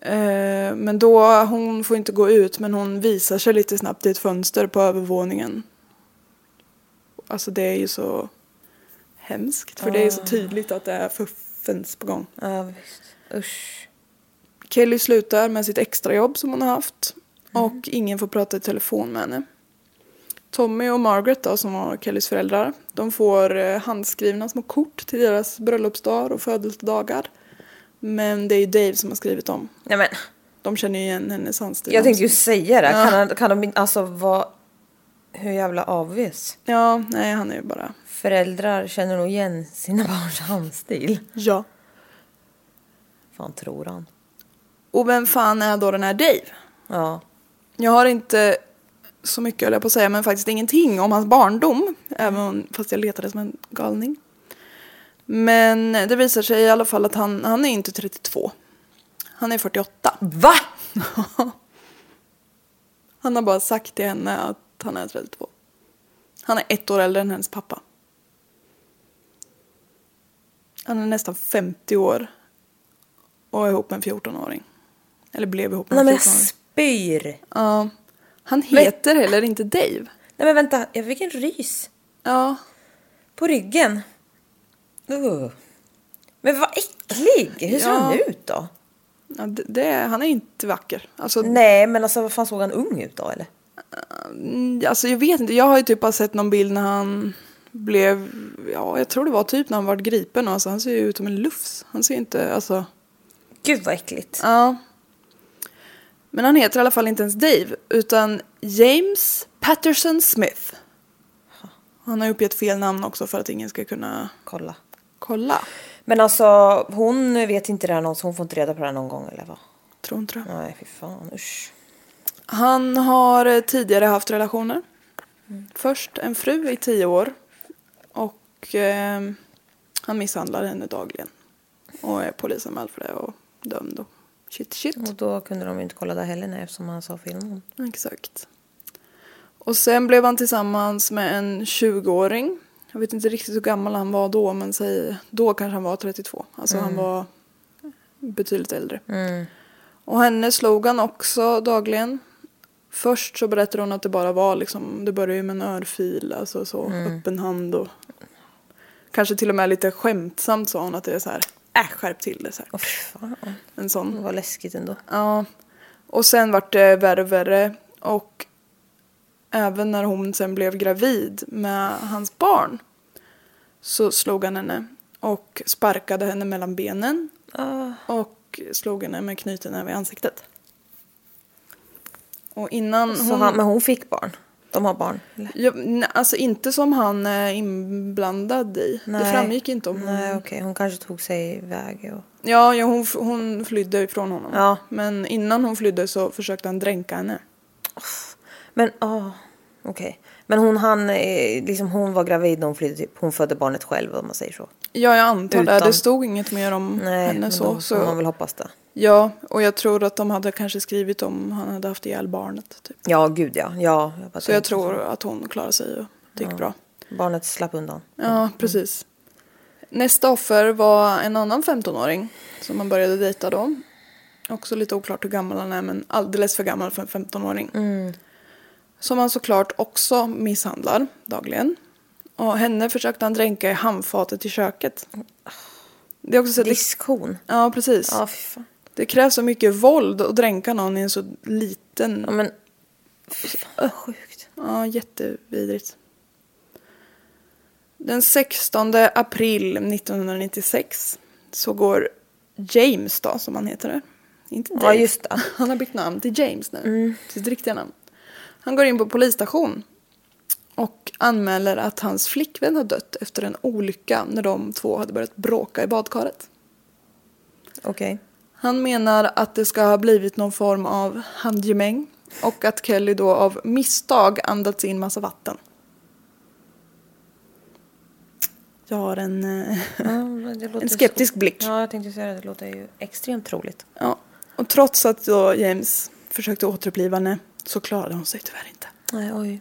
[SPEAKER 2] Eh, Men då, hon får inte gå ut men hon visar sig lite snabbt i ett fönster på övervåningen. Alltså det är ju så hemskt för det är så
[SPEAKER 1] Ah.
[SPEAKER 2] tydligt att det är fuffens på gång.
[SPEAKER 1] Ja, visst. Usch.
[SPEAKER 2] Kelly slutar med sitt extrajobb som hon har haft
[SPEAKER 1] Mm.
[SPEAKER 2] och ingen får prata i telefon med henne. Tommy och Margaret då, som var Kellys föräldrar, de får eh, handskrivna små kort till deras bröllopsdagar och födelsedagar. Men det är ju Dave som har skrivit dem.
[SPEAKER 1] Nej men,
[SPEAKER 2] De känner ju igen hennes handstil.
[SPEAKER 1] jag tänkte ju säga det. Kan, han, kan de inte, alltså vad... Hur jävla avvis.
[SPEAKER 2] Ja, nej han är ju bara...
[SPEAKER 1] Föräldrar känner nog igen sina barns handstil.
[SPEAKER 2] Ja.
[SPEAKER 1] Fan tror han.
[SPEAKER 2] Och vem fan är då den här Dave?
[SPEAKER 1] Ja.
[SPEAKER 2] Jag har inte så mycket höll jag på att säga, men faktiskt ingenting om hans barndom. Även fast jag letade som en galning. Men det visar sig i alla fall att han, han är inte 32. Han är 48.
[SPEAKER 1] Va?
[SPEAKER 2] Han har bara sagt till henne att han är 32. Han är ett år äldre än hennes pappa. Han är nästan 50 år och är ihop med en 14-åring. Eller blev ihop med
[SPEAKER 1] Nej
[SPEAKER 2] en
[SPEAKER 1] men jag
[SPEAKER 2] 14-åring.
[SPEAKER 1] spyr.
[SPEAKER 2] Ja. Han heter heller inte Dave.
[SPEAKER 1] Nej men vänta, jag fick en rys
[SPEAKER 2] Ja.
[SPEAKER 1] på ryggen. Ugh. Men vad äcklig! Hur ser
[SPEAKER 2] Ja.
[SPEAKER 1] han ut då?
[SPEAKER 2] ja det, det, han är inte vacker. Alltså,
[SPEAKER 1] Nej men alltså vad fan såg han ung ut då eller?
[SPEAKER 2] Mm, Alltså jag vet inte, jag har ju typ bara sett någon bild när han blev, ja jag tror det var typ när han var gripen och alltså han ser ju ut som en lufs. Han ser ju inte, alltså,
[SPEAKER 1] Gud vad äckligt.
[SPEAKER 2] ja. Men han heter i alla fall inte ens Dave, utan James Patterson Smith. Han har uppgett fel namn också för att ingen ska kunna
[SPEAKER 1] Kolla.
[SPEAKER 2] kolla.
[SPEAKER 1] Men alltså hon vet inte det här någon, så hon får inte reda på det här någon gång eller vad?
[SPEAKER 2] Tror inte det.
[SPEAKER 1] Nej fy fan usch.
[SPEAKER 2] Han har eh, tidigare haft relationer. Först en fru i tio år. Och eh, han misshandlar henne dagligen. Och är polisanmäld för det och dömd och shit shit.
[SPEAKER 1] Och då kunde de ju inte kolla det heller nej, eftersom han sa filmen.
[SPEAKER 2] Exakt. Och sen blev han tillsammans med en 20-åring. Jag vet inte riktigt hur gammal han var då men säg, då kanske han var 32. Alltså han var betydligt äldre. Och henne slog han också dagligen. Först så berättade hon att det bara var liksom, det började ju med en örfil, alltså så öppen hand och kanske till och med lite skämtsamt sa hon att det är så här, äh skärp till det så här.
[SPEAKER 1] Åh fy fan.
[SPEAKER 2] En sån.
[SPEAKER 1] Det var läskigt ändå.
[SPEAKER 2] Ja. Och sen vart det värre och värre. Och även när hon sen blev gravid med hans barn så slog han henne och sparkade henne mellan benen
[SPEAKER 1] Ah.
[SPEAKER 2] och slog henne med knytnäve i ansiktet. Och innan
[SPEAKER 1] Så
[SPEAKER 2] hon...
[SPEAKER 1] han, men hon fick barn. De har barn. Eller?
[SPEAKER 2] Ja, nej, alltså inte som han är inblandad i. Det
[SPEAKER 1] Nej.
[SPEAKER 2] framgick inte om
[SPEAKER 1] Nej
[SPEAKER 2] hon
[SPEAKER 1] okej, hon kanske tog sig iväg. Och...
[SPEAKER 2] Ja, ja hon, f- hon flydde ifrån honom.
[SPEAKER 1] Ja.
[SPEAKER 2] Men innan hon flydde så försökte han dränka henne.
[SPEAKER 1] Men ja, okej. Men hon, han, eh, liksom, hon var gravid när hon flydde typ. Hon födde barnet själv om man säger så.
[SPEAKER 2] Ja, jag antar det.
[SPEAKER 1] Utan-
[SPEAKER 2] Det stod inget mer om
[SPEAKER 1] Nej,
[SPEAKER 2] Mm. henne
[SPEAKER 1] men
[SPEAKER 2] så.
[SPEAKER 1] då får
[SPEAKER 2] så
[SPEAKER 1] man väl hoppas det.
[SPEAKER 2] Ja, och jag tror att de hade kanske skrivit om han hade haft ihjäl barnet. Typ.
[SPEAKER 1] Ja gud ja. ja jag bara
[SPEAKER 2] Så jag
[SPEAKER 1] tänkte
[SPEAKER 2] tror att hon klarade sig och det gick bra.
[SPEAKER 1] Barnet slapp undan.
[SPEAKER 2] Ja, precis. Nästa offer var en annan 15-åring som man började dejta då. Också lite oklart hur gammal han är, men alldeles för gammal för en 15-åring.
[SPEAKER 1] Mm.
[SPEAKER 2] Som han såklart också misshandlar dagligen. Och henne försökte han dränka i handfatet i köket. Det är också så att det,
[SPEAKER 1] Diskhon.
[SPEAKER 2] Ja, precis.
[SPEAKER 1] Ja fy fan.
[SPEAKER 2] Det krävs så mycket våld att dränka någon i en så liten...
[SPEAKER 1] Ja, men fy fan vad sjukt.
[SPEAKER 2] Ja, jättevidrigt. Den 16 april 1996 så går James då, som han heter nu. Inte Dave.
[SPEAKER 1] Ja, just det. Mm.
[SPEAKER 2] Han har bytt namn till James nu. Till sitt riktiga namn. Han går in på polisstation och anmäler att hans flickvän har dött efter en olycka när de två hade börjat bråka i badkaret.
[SPEAKER 1] Okej.
[SPEAKER 2] Han menar att det ska ha blivit någon form av handgemäng och att Kelly då av misstag andats in massa vatten. Jag har en... eh,
[SPEAKER 1] Ja, men det låter
[SPEAKER 2] En skeptisk
[SPEAKER 1] så-
[SPEAKER 2] blick.
[SPEAKER 1] Ja jag tänkte säga det. Det låter ju extremt troligt.
[SPEAKER 2] Ja. Och trots att då James försökte återuppliva henne så klarade hon sig tyvärr inte.
[SPEAKER 1] Nej oj.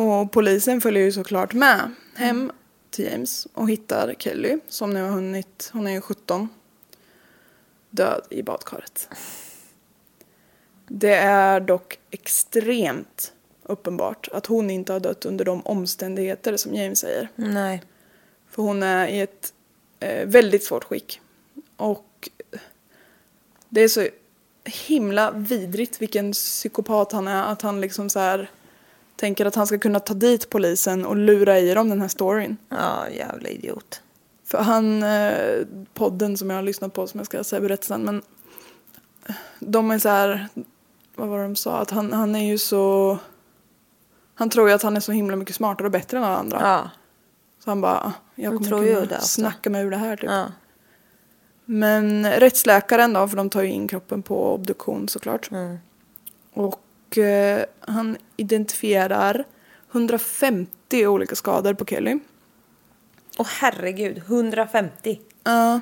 [SPEAKER 2] Och polisen följer ju såklart med hem till James och hittar Kelly som nu har hunnit, hon är ju 17, död i badkaret. Det är dock extremt uppenbart att hon inte har dött under de omständigheter som James säger.
[SPEAKER 1] Nej.
[SPEAKER 2] För hon är i ett eh, väldigt svårt skick. Och det är så himla vidrigt vilken psykopat han är. Att han liksom så här tänker att han ska kunna ta dit polisen och lura i dem den här storyn.
[SPEAKER 1] Ja jävla idiot.
[SPEAKER 2] För han, eh, podden som jag har lyssnat på som jag ska säga berättelsen, men eh, de är så här, vad var det de sa, att han, han är ju så, han tror ju att han är så himla mycket smartare och bättre än alla andra.
[SPEAKER 1] Ja.
[SPEAKER 2] Så han bara, "Ah, jag
[SPEAKER 1] De
[SPEAKER 2] kommer
[SPEAKER 1] tror ju
[SPEAKER 2] kunna
[SPEAKER 1] det ofta.
[SPEAKER 2] snacka mig ur det här typ.
[SPEAKER 1] Ja.
[SPEAKER 2] Men rättsläkaren då, för de tar ju in kroppen på obduktion såklart.
[SPEAKER 1] Mm.
[SPEAKER 2] Och eh, han identifierar 150 olika skador på Kelly.
[SPEAKER 1] Åh herregud. 150.
[SPEAKER 2] Ja.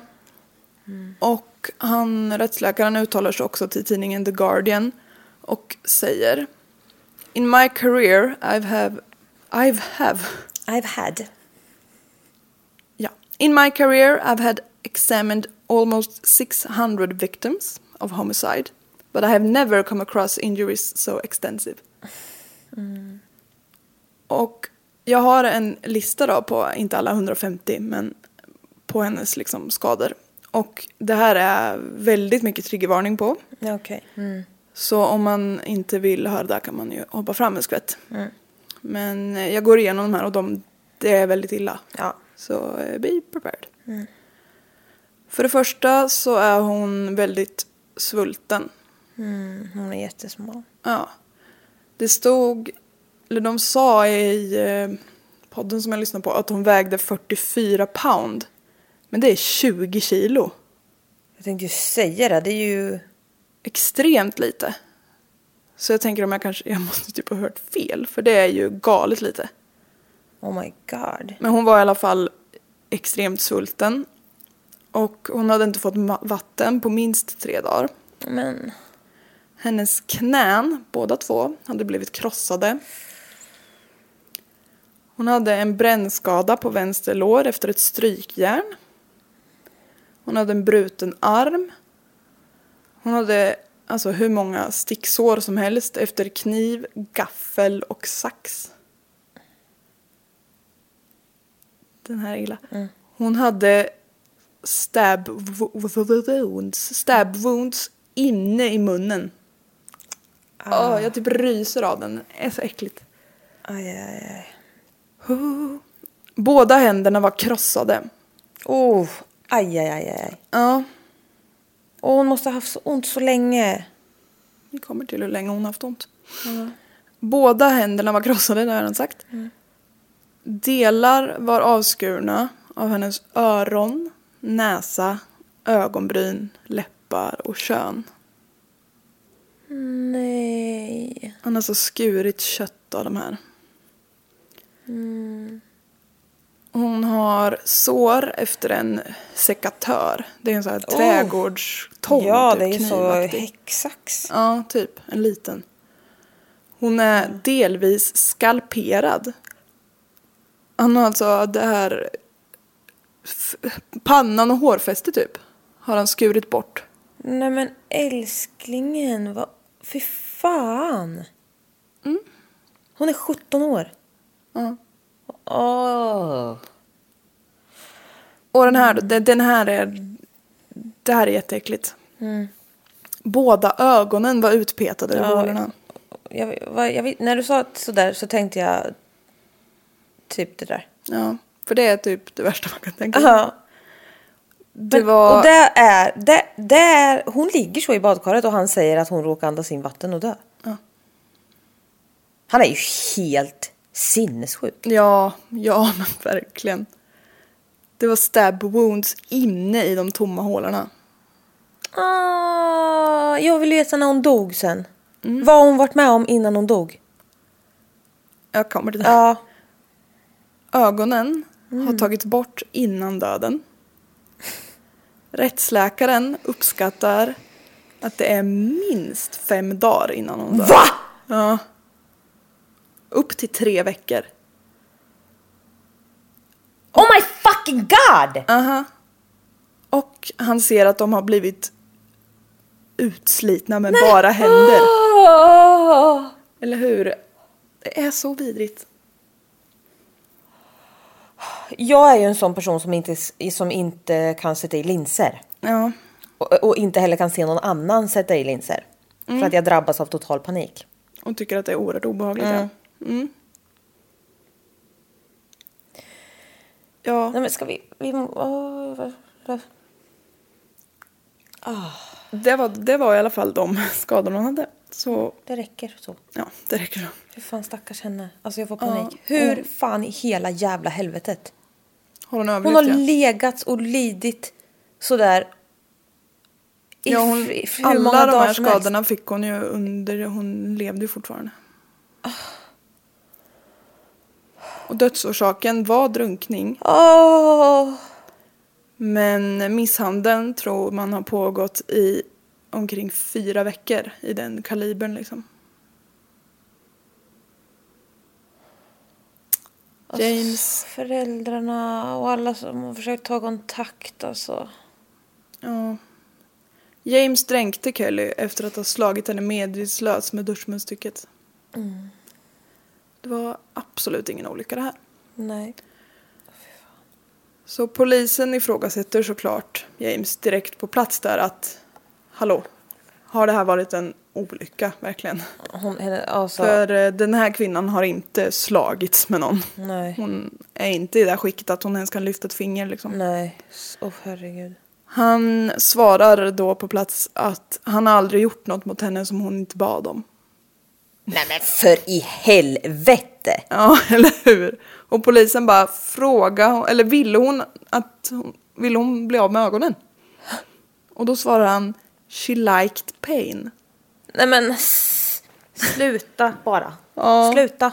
[SPEAKER 2] Och han, rättsläkaren uttalar sig också till tidningen The Guardian och säger In my career I've have, I've have
[SPEAKER 1] I've had.
[SPEAKER 2] Yeah. In my career, I've had examined almost 600 victims of homicide But I have never come across injuries so extensive. Och jag har en lista då på, inte alla 150, men på hennes liksom skador. Och det här är väldigt mycket triggervarning på.
[SPEAKER 1] Ja, Okej. Mm,
[SPEAKER 2] Så om man inte vill höra det här kan man ju hoppa fram en skvätt. Men eh, jag går igenom de här och de, det är väldigt illa.
[SPEAKER 1] Ja.
[SPEAKER 2] Så eh, be prepared. För det första så är hon väldigt svulten.
[SPEAKER 1] Hon är jättesmal.
[SPEAKER 2] Ja. Det stod, eller de sa i eh, podden som jag lyssnade på att hon vägde 44 pound. Men det är 20 kilo.
[SPEAKER 1] Jag tänkte ju säga det, det är ju...
[SPEAKER 2] extremt lite. Så jag tänker om jag kanske, jag måste typ ha hört fel för det är ju galet lite.
[SPEAKER 1] Oh my god.
[SPEAKER 2] Men hon var i alla fall extremt svulten. Och hon hade inte fått ma- vatten på minst tre dagar.
[SPEAKER 1] Men...
[SPEAKER 2] Hennes knän, båda två, hade blivit krossade. Hon hade en brännskada på vänster lår efter ett strykjärn. Hon hade en bruten arm. Hon hade alltså hur många sticksår som helst efter kniv, gaffel och sax. Den här är illa. Hon hade stab wo- wo- wounds, stab wounds inne i munnen. Ah. jag typ ryser av den. Det är så äckligt.
[SPEAKER 1] Aj, aj, aj.
[SPEAKER 2] Båda händerna var krossade.
[SPEAKER 1] Oh, aj, aj, aj, aj.
[SPEAKER 2] Ja,
[SPEAKER 1] Och hon måste ha haft så ont så länge.
[SPEAKER 2] vi kommer till hur länge hon haft ont. Båda händerna var krossade, det har jag redan sagt. Delar var avskurna av hennes öron, näsa, ögonbryn, läppar och kön.
[SPEAKER 1] Nej.
[SPEAKER 2] Han har alltså skurit kött av de här.
[SPEAKER 1] Mm.
[SPEAKER 2] Hon har sår efter en sekatör. Det är en sån här trädgårdstång.
[SPEAKER 1] ja,
[SPEAKER 2] typ,
[SPEAKER 1] det är så
[SPEAKER 2] knivaktig.
[SPEAKER 1] häcksax.
[SPEAKER 2] Ja, typ. En liten. Hon är delvis skalperad. Han har alltså det här... f- Pannan och hårfästet typ. Har han skurit bort.
[SPEAKER 1] Nej men älsklingen, vad... Fy fan.
[SPEAKER 2] Mm.
[SPEAKER 1] Hon är 17 år.
[SPEAKER 2] Ja.
[SPEAKER 1] Åh.
[SPEAKER 2] Och den här, de- den här är... Det här är jätteäckligt. Båda ögonen var utpetade ur
[SPEAKER 1] Mm. Ja.
[SPEAKER 2] hålorna.
[SPEAKER 1] Jag, vad, jag, vet- när du sa sådär så tänkte jag typ det där.
[SPEAKER 2] Ja, för det är typ det värsta man kan tänka sig.
[SPEAKER 1] Ja.
[SPEAKER 2] Det
[SPEAKER 1] Men-
[SPEAKER 2] var...
[SPEAKER 1] Och det är, det, det är... Hon ligger så i badkaret och han säger att hon råkar andas in vatten och dö.
[SPEAKER 2] Ja.
[SPEAKER 1] Han är ju helt
[SPEAKER 2] Mm.
[SPEAKER 1] sinnessjuk.
[SPEAKER 2] Ja, ja men verkligen. Det var stab wounds inne i de tomma hålorna.
[SPEAKER 1] Ah, jag vill veta när hon dog sen.
[SPEAKER 2] Mm.
[SPEAKER 1] Vad hon varit med om innan hon dog.
[SPEAKER 2] Jag kommer till det.
[SPEAKER 1] Ja.
[SPEAKER 2] Ögonen har tagits bort innan döden. Rättsläkaren uppskattar att det är minst fem dagar innan hon dör.
[SPEAKER 1] Va?
[SPEAKER 2] Ja. Upp till tre veckor.
[SPEAKER 1] Oh my fucking god!
[SPEAKER 2] Aha. Och han ser att de har blivit utslitna med bara händer.
[SPEAKER 1] Ah! Åh!
[SPEAKER 2] Eller hur? Det är så vidrigt.
[SPEAKER 1] Jag är ju en sån person som inte, som inte kan sätta i linser.
[SPEAKER 2] Ja.
[SPEAKER 1] Och, och inte heller kan se någon annan sätta i linser. För
[SPEAKER 2] Mm.
[SPEAKER 1] att jag drabbas av total panik.
[SPEAKER 2] Och tycker att det är oerhört obehagligt.
[SPEAKER 1] Mm.
[SPEAKER 2] Ja. Mm. ja.
[SPEAKER 1] Nej men ska vi... vi åh, vad- vad-
[SPEAKER 2] Det var, det var i alla fall de skadorna hon hade. Så
[SPEAKER 1] det räcker så.
[SPEAKER 2] ja, det räcker så.
[SPEAKER 1] Hur fan stackars henne. Alltså jag får
[SPEAKER 2] Ja, Mm.
[SPEAKER 1] panik. Hur
[SPEAKER 2] och-
[SPEAKER 1] fan i hela jävla helvetet?
[SPEAKER 2] Har hon
[SPEAKER 1] Hon
[SPEAKER 2] överlevt
[SPEAKER 1] har
[SPEAKER 2] ja?
[SPEAKER 1] legats och lidit sådär. I
[SPEAKER 2] ja, hon,
[SPEAKER 1] fri- fri- hur många
[SPEAKER 2] Alla de
[SPEAKER 1] dagar
[SPEAKER 2] här
[SPEAKER 1] som helst.
[SPEAKER 2] skadorna fick hon ju under, hon levde ju fortfarande.
[SPEAKER 1] Ah.
[SPEAKER 2] Och dödsorsaken var drunkning.
[SPEAKER 1] Åh!
[SPEAKER 2] Men misshandeln tror man har pågått i omkring fyra veckor i den kalibern liksom.
[SPEAKER 1] Alltså-
[SPEAKER 2] James,
[SPEAKER 1] Föräldrarna och alla som har försökt ta kontakt alltså.
[SPEAKER 2] ja. James dränkte Kelly efter att ha slagit henne medvetslös med duschmunstycket. Det var absolut ingen olycka det här.
[SPEAKER 1] Nej.
[SPEAKER 2] Så polisen ifrågasätter såklart James direkt på plats där att hallå, har det här varit en olycka verkligen?
[SPEAKER 1] Hon, henne, alltså,
[SPEAKER 2] För eh, den här kvinnan har inte slagits med någon.
[SPEAKER 1] nej,
[SPEAKER 2] Hon är inte i det här skicket att hon ens kan lyfta ett finger liksom.
[SPEAKER 1] nej. Mm. S- Åh herregud.
[SPEAKER 2] Han svarar då på plats att han aldrig gjort något mot henne som hon inte bad om.
[SPEAKER 1] Nej men för i helvete!
[SPEAKER 2] Ja, eller hur? Och polisen bara fråga, eller ville hon att hon, ville hon bli av med ögonen? Och då svarar han She liked pain.
[SPEAKER 1] Nej men s- sluta bara.
[SPEAKER 2] Ja.
[SPEAKER 1] Sluta.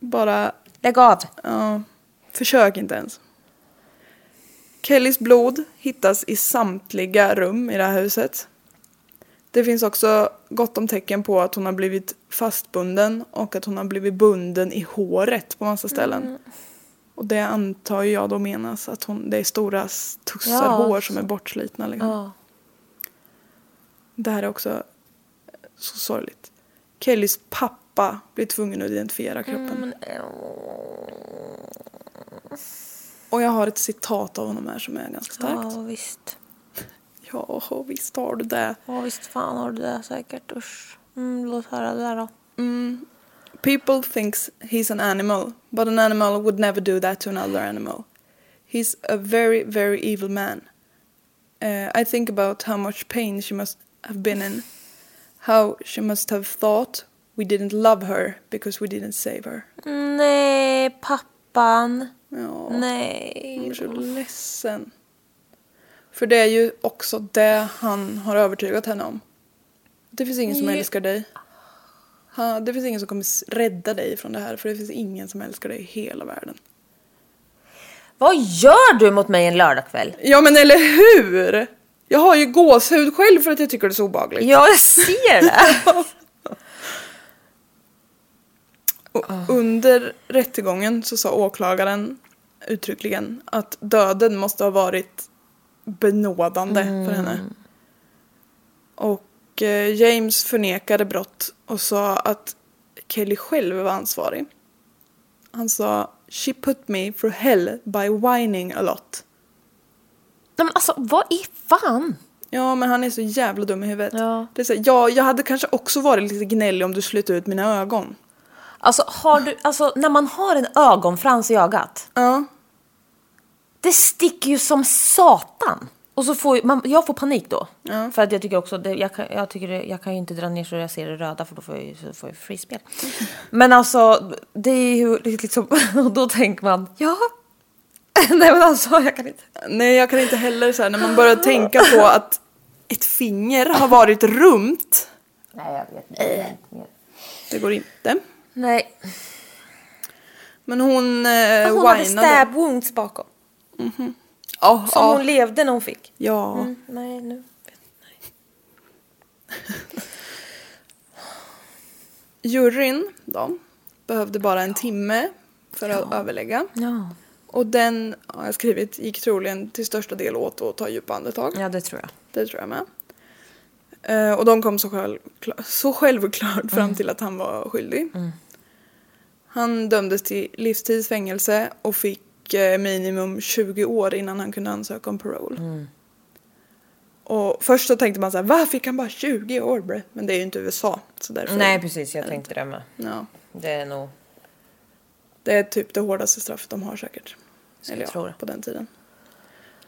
[SPEAKER 2] Bara,
[SPEAKER 1] Lägg av.
[SPEAKER 2] ja, försök inte ens. Kellys blod hittas i samtliga rum i det här huset. Det finns också gott om tecken på att hon har blivit fastbunden och att hon har blivit bunden i håret på massa ställen.
[SPEAKER 1] Mm.
[SPEAKER 2] Och det antar ju jag då menas att hon, det är stora s- tussar
[SPEAKER 1] Ja.
[SPEAKER 2] hår som är bortslitna. Liksom. Det här är också så sorgligt. Kellys pappa blir tvungen att identifiera kroppen.
[SPEAKER 1] Mm.
[SPEAKER 2] Och jag har ett citat av honom här som är ganska starkt.
[SPEAKER 1] Ja visst.
[SPEAKER 2] Ja, visst har du det.
[SPEAKER 1] Ja visst fan har du det säkert. Usch. Mm, låt höra det där då.
[SPEAKER 2] People thinks he's an animal, but an animal would never do that to another animal. He's a very, very evil man. Uh, I think about how much pain she must have been in. How she must have thought we didn't love her because we didn't save her.
[SPEAKER 1] Nej pappan.
[SPEAKER 2] Ja, jag
[SPEAKER 1] Nej.
[SPEAKER 2] är så ledsen. För det är ju också det han har övertygat henne om. Det finns ingen som
[SPEAKER 1] Ja.
[SPEAKER 2] älskar dig. Ha, det finns ingen som kommer s- rädda dig från det här för det finns ingen som älskar dig i hela världen.
[SPEAKER 1] Vad gör du mot mig en lördagkväll?
[SPEAKER 2] Ja men eller hur! Jag har ju gåshud själv för att jag tycker det är så obehagligt.
[SPEAKER 1] Ja jag ser det.
[SPEAKER 2] Och Under rättegången så sa åklagaren uttryckligen att döden måste ha varit benådande för henne. Och eh, James förnekade brott och sa att Kelly själv var ansvarig. Han sa “She put me through hell by whining a lot”.
[SPEAKER 1] Nej men alltså vad i fan?
[SPEAKER 2] Ja, men han är så jävla dum i huvudet.
[SPEAKER 1] Ja.
[SPEAKER 2] Det är så här, ja, jag hade kanske också varit lite gnällig om du slet ut mina ögon.
[SPEAKER 1] Alltså har du, alltså när man har en ögonfrans i ögat.
[SPEAKER 2] Ja.
[SPEAKER 1] Det sticker ju som satan. Och så får ju- man, jag får panik då. För att jag tycker också, det, jag, kan, jag, tycker det, jag kan ju inte dra ner så jag ser det röda för då får jag ju så får jag ju frispel. Men alltså, det är ju liksom, och då tänker man, ja. Nej men alltså jag kan inte.
[SPEAKER 2] Nej, jag kan inte heller så här, när man börjar tänka på att ett finger har varit rumt. Nej, jag vet inte. Det går inte.
[SPEAKER 1] Nej.
[SPEAKER 2] Men
[SPEAKER 1] Hon
[SPEAKER 2] hon... Eh,
[SPEAKER 1] hade
[SPEAKER 2] whinade.
[SPEAKER 1] stab wounds bakom.
[SPEAKER 2] Ja,
[SPEAKER 1] Som
[SPEAKER 2] ja.
[SPEAKER 1] hon levde när hon fick.
[SPEAKER 2] ja.
[SPEAKER 1] Mm, nej nu.
[SPEAKER 2] Juryn då, behövde bara en timme för att överlägga.
[SPEAKER 1] Ja.
[SPEAKER 2] Och den, har jag skrivit, gick troligen till största del åt att ta djupa andetag.
[SPEAKER 1] Ja det tror jag.
[SPEAKER 2] Det tror jag med. Eh, och de kom så, själv, så självklart fram
[SPEAKER 1] Mm.
[SPEAKER 2] till att han var skyldig. Han dömdes till livstids fängelse och fick eh, minimum 20 år innan han kunde ansöka om parole.
[SPEAKER 1] Mm.
[SPEAKER 2] Och först så tänkte man så här, va fick han bara 20 år bre? Men det är ju inte USA. Så därför,
[SPEAKER 1] Nej precis, jag tänkte det med.
[SPEAKER 2] Ja,
[SPEAKER 1] Det är nog,
[SPEAKER 2] det är typ det hårdaste straffet de har säkert.
[SPEAKER 1] jag tror det.
[SPEAKER 2] på den tiden.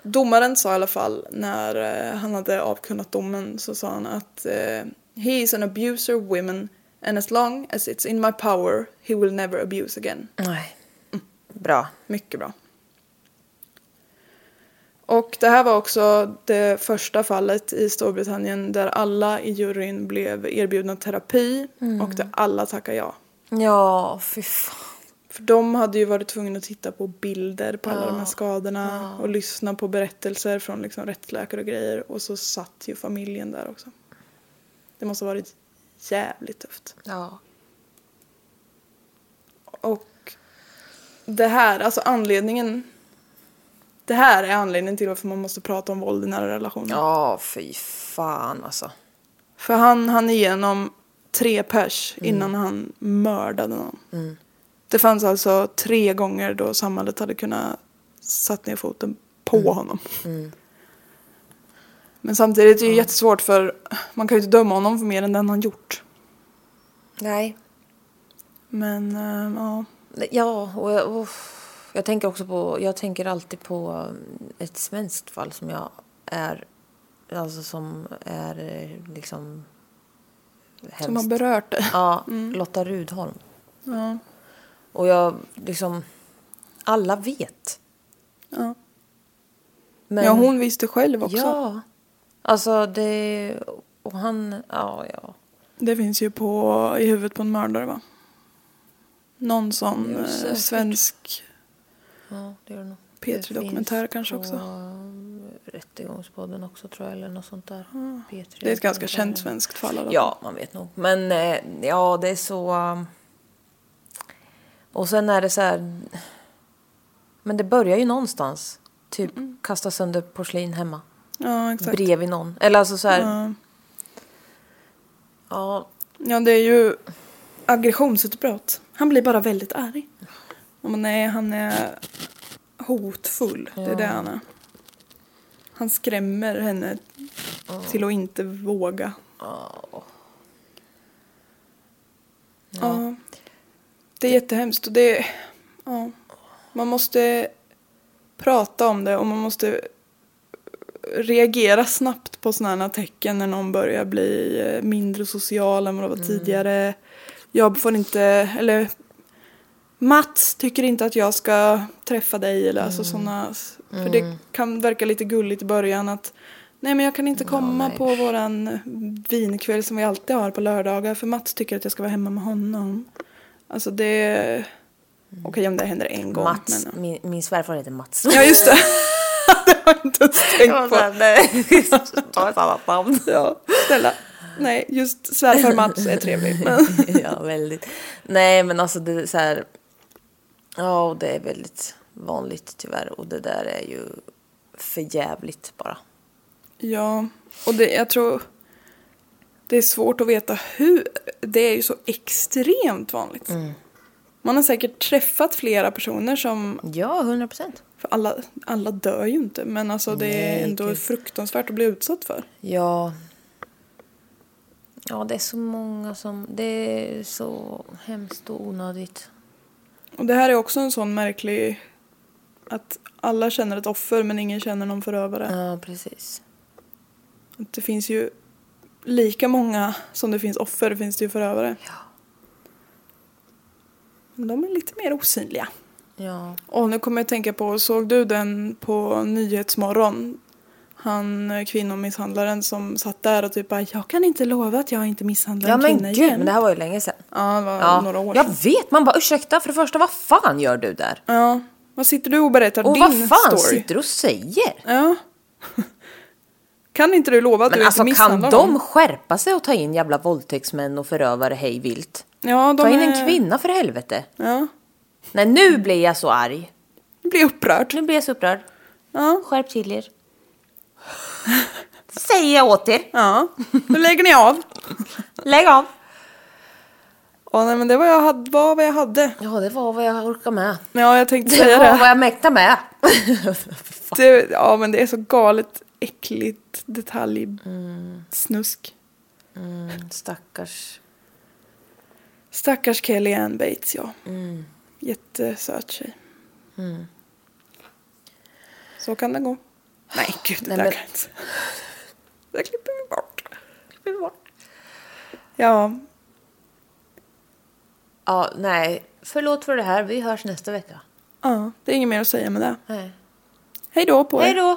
[SPEAKER 2] Domaren sa i alla fall när eh, han hade avkunnat domen så sa han att eh, He is an abuser of women and as long as it's in my power he will never abuse again.
[SPEAKER 1] nej. Bra.
[SPEAKER 2] Mycket bra. Och det här var också det första fallet i Storbritannien där alla i juryn blev erbjudna terapi och där alla tackade ja.
[SPEAKER 1] Ja, fy fan.
[SPEAKER 2] För de hade ju varit tvungna att titta på bilder på alla de här skadorna och lyssna på berättelser från liksom rättsläkare och grejer. Och så satt ju familjen där också. Det måste ha varit jävligt tufft.
[SPEAKER 1] Ja.
[SPEAKER 2] Och det här, alltså anledningen Det här är anledningen till varför man måste prata om våld i nära relationer.
[SPEAKER 1] Ja, fy fan alltså.
[SPEAKER 2] För han hann igenom tre pers
[SPEAKER 1] Mm.
[SPEAKER 2] innan han mördade någon. Det fanns alltså tre gånger då samhället hade kunnat satt ner foten på
[SPEAKER 1] Mm.
[SPEAKER 2] honom. Men samtidigt är det ju jättesvårt för man kan ju inte döma honom för mer än den han gjort.
[SPEAKER 1] Nej.
[SPEAKER 2] Men eh, ja,
[SPEAKER 1] Ja, och jag, och jag tänker också på... Jag tänker alltid på um, ett svenskt fall som jag är... Alltså som är eh, liksom... Hemskt.
[SPEAKER 2] som Mm. har berört det.
[SPEAKER 1] Ja, Lotta Rudholm.
[SPEAKER 2] Ja.
[SPEAKER 1] Och jag liksom... Alla vet.
[SPEAKER 2] Ja.
[SPEAKER 1] Men,
[SPEAKER 2] ja, hon visste själv också.
[SPEAKER 1] Ja. Alltså det... Och han... Ja, ja.
[SPEAKER 2] Det finns ju på, i huvudet på en mördare va? Någon sån
[SPEAKER 1] Jo,
[SPEAKER 2] eh,
[SPEAKER 1] säkert.
[SPEAKER 2] svensk
[SPEAKER 1] ja det gör det nog. Det finns
[SPEAKER 2] P3-dokumentär kanske också.
[SPEAKER 1] på Rättegångspodden också tror jag, eller något sånt där. P3
[SPEAKER 2] Det är ett ganska känt svenskt fall. i alla fall.
[SPEAKER 1] Ja, man vet nog. Men eh, ja, det är så... um, Och sen är det så här... Men det börjar ju någonstans. Typ kasta sönder porslin hemma.
[SPEAKER 2] ja exakt.
[SPEAKER 1] Bredvid någon. Eller alltså så här...
[SPEAKER 2] Ja.
[SPEAKER 1] Ja,
[SPEAKER 2] Ja, det är ju aggressionsutbrott. Han blir bara väldigt arg. Och man nej, han är hotfull. Det är det han är. Han skrämmer henne till att inte våga. Ja. Det är jättehemskt och det... Ja. Man måste prata om det och man måste reagera snabbt på sådana här tecken när någon börjar bli eh, mindre social än vad det var tidigare. Jag får inte, eller Mats tycker inte att jag ska träffa dig eller alltså sådana. För det kan verka lite gulligt i början att nej men jag kan inte komma på våran vinkväll som vi alltid har på lördagar för Mats tycker att jag ska vara hemma med honom. Alltså det, okej om det händer en gång.
[SPEAKER 1] Mats.
[SPEAKER 2] Men,
[SPEAKER 1] Min, min svärfar heter Mats.
[SPEAKER 2] ja just det. det har jag inte ens tänkt på.
[SPEAKER 1] Ta ett annat namn.
[SPEAKER 2] Ja, snälla. Nej, just svärfar Mats är trevlig. Men...
[SPEAKER 1] ja, väldigt. Nej, men alltså det är så här. Ja, och det är väldigt vanligt tyvärr. Och det där är ju för jävligt bara.
[SPEAKER 2] Ja, och det, jag tror det är svårt att veta hur. Det är ju så extremt vanligt. Man har säkert träffat flera personer som,
[SPEAKER 1] Ja, hundra procent.
[SPEAKER 2] för alla, alla dör ju inte, men alltså det är
[SPEAKER 1] Nej,
[SPEAKER 2] ändå
[SPEAKER 1] gud.
[SPEAKER 2] fruktansvärt att bli utsatt för.
[SPEAKER 1] Ja. Ja, det är så många som... Det är så hemskt och onödigt.
[SPEAKER 2] Och det här är också en sån märklig, att alla känner ett offer men ingen känner någon förövare.
[SPEAKER 1] Ja, precis.
[SPEAKER 2] Att Det finns ju lika många som det finns offer finns det ju förövare. Men de är lite mer osynliga.
[SPEAKER 1] Ja.
[SPEAKER 2] Och nu kommer jag att tänka på, såg du den på Nyhetsmorgon? Han eh, kvinnomisshandlaren som satt där och typ bara, jag kan inte lova att jag inte misshandlar
[SPEAKER 1] Ja,
[SPEAKER 2] en
[SPEAKER 1] men
[SPEAKER 2] kvinna
[SPEAKER 1] gud,
[SPEAKER 2] igen.
[SPEAKER 1] men det här var ju länge sedan.
[SPEAKER 2] Ja, det var
[SPEAKER 1] Ja.
[SPEAKER 2] några år
[SPEAKER 1] jag
[SPEAKER 2] sedan.
[SPEAKER 1] vet! Man bara ursäkta, för det första, vad fan gör du där?
[SPEAKER 2] Ja. Vad sitter du och berättar
[SPEAKER 1] Och
[SPEAKER 2] din
[SPEAKER 1] vad fan
[SPEAKER 2] story?
[SPEAKER 1] sitter du och säger?
[SPEAKER 2] Ja. kan inte du lova att
[SPEAKER 1] Men
[SPEAKER 2] du
[SPEAKER 1] alltså
[SPEAKER 2] inte
[SPEAKER 1] kan
[SPEAKER 2] misshandlar
[SPEAKER 1] de
[SPEAKER 2] någon?
[SPEAKER 1] skärpa sig och ta in jävla våldtäktsmän och förövare hej vilt?
[SPEAKER 2] Ja, de
[SPEAKER 1] Ta in
[SPEAKER 2] är-
[SPEAKER 1] en kvinna för helvete.
[SPEAKER 2] Ja.
[SPEAKER 1] Nej nu blir jag så arg.
[SPEAKER 2] Jag blir upprörd.
[SPEAKER 1] Nu blir jag så upprörd.
[SPEAKER 2] Ja.
[SPEAKER 1] Skärp till er. Säger jag åt er.
[SPEAKER 2] Ja. Nu lägger ni av.
[SPEAKER 1] Lägg av.
[SPEAKER 2] Ja, nej, men det var, jag hade, var vad jag hade.
[SPEAKER 1] Ja det var vad jag orkar med.
[SPEAKER 2] Men ja, jag
[SPEAKER 1] Det
[SPEAKER 2] tänkte säga
[SPEAKER 1] var vad
[SPEAKER 2] det.
[SPEAKER 1] jag mäktar med.
[SPEAKER 2] det. Ja, men det är så galet äckligt detaljsnusk.
[SPEAKER 1] Stackars.
[SPEAKER 2] Stackars Kelly Ann Bates, ja. Jättesöt tjej. Mm. Så kan det gå. Ah, Nej, gud, det
[SPEAKER 1] Nej,
[SPEAKER 2] där
[SPEAKER 1] men-
[SPEAKER 2] kan jag inte. Det där klipper vi bort. Klipper vi bort. Ja,
[SPEAKER 1] Ja nej. Förlåt för det här. Vi hörs nästa vecka.
[SPEAKER 2] ja, det är inget mer att säga med det.
[SPEAKER 1] Nej.
[SPEAKER 2] Hej då på er.
[SPEAKER 1] Hej då.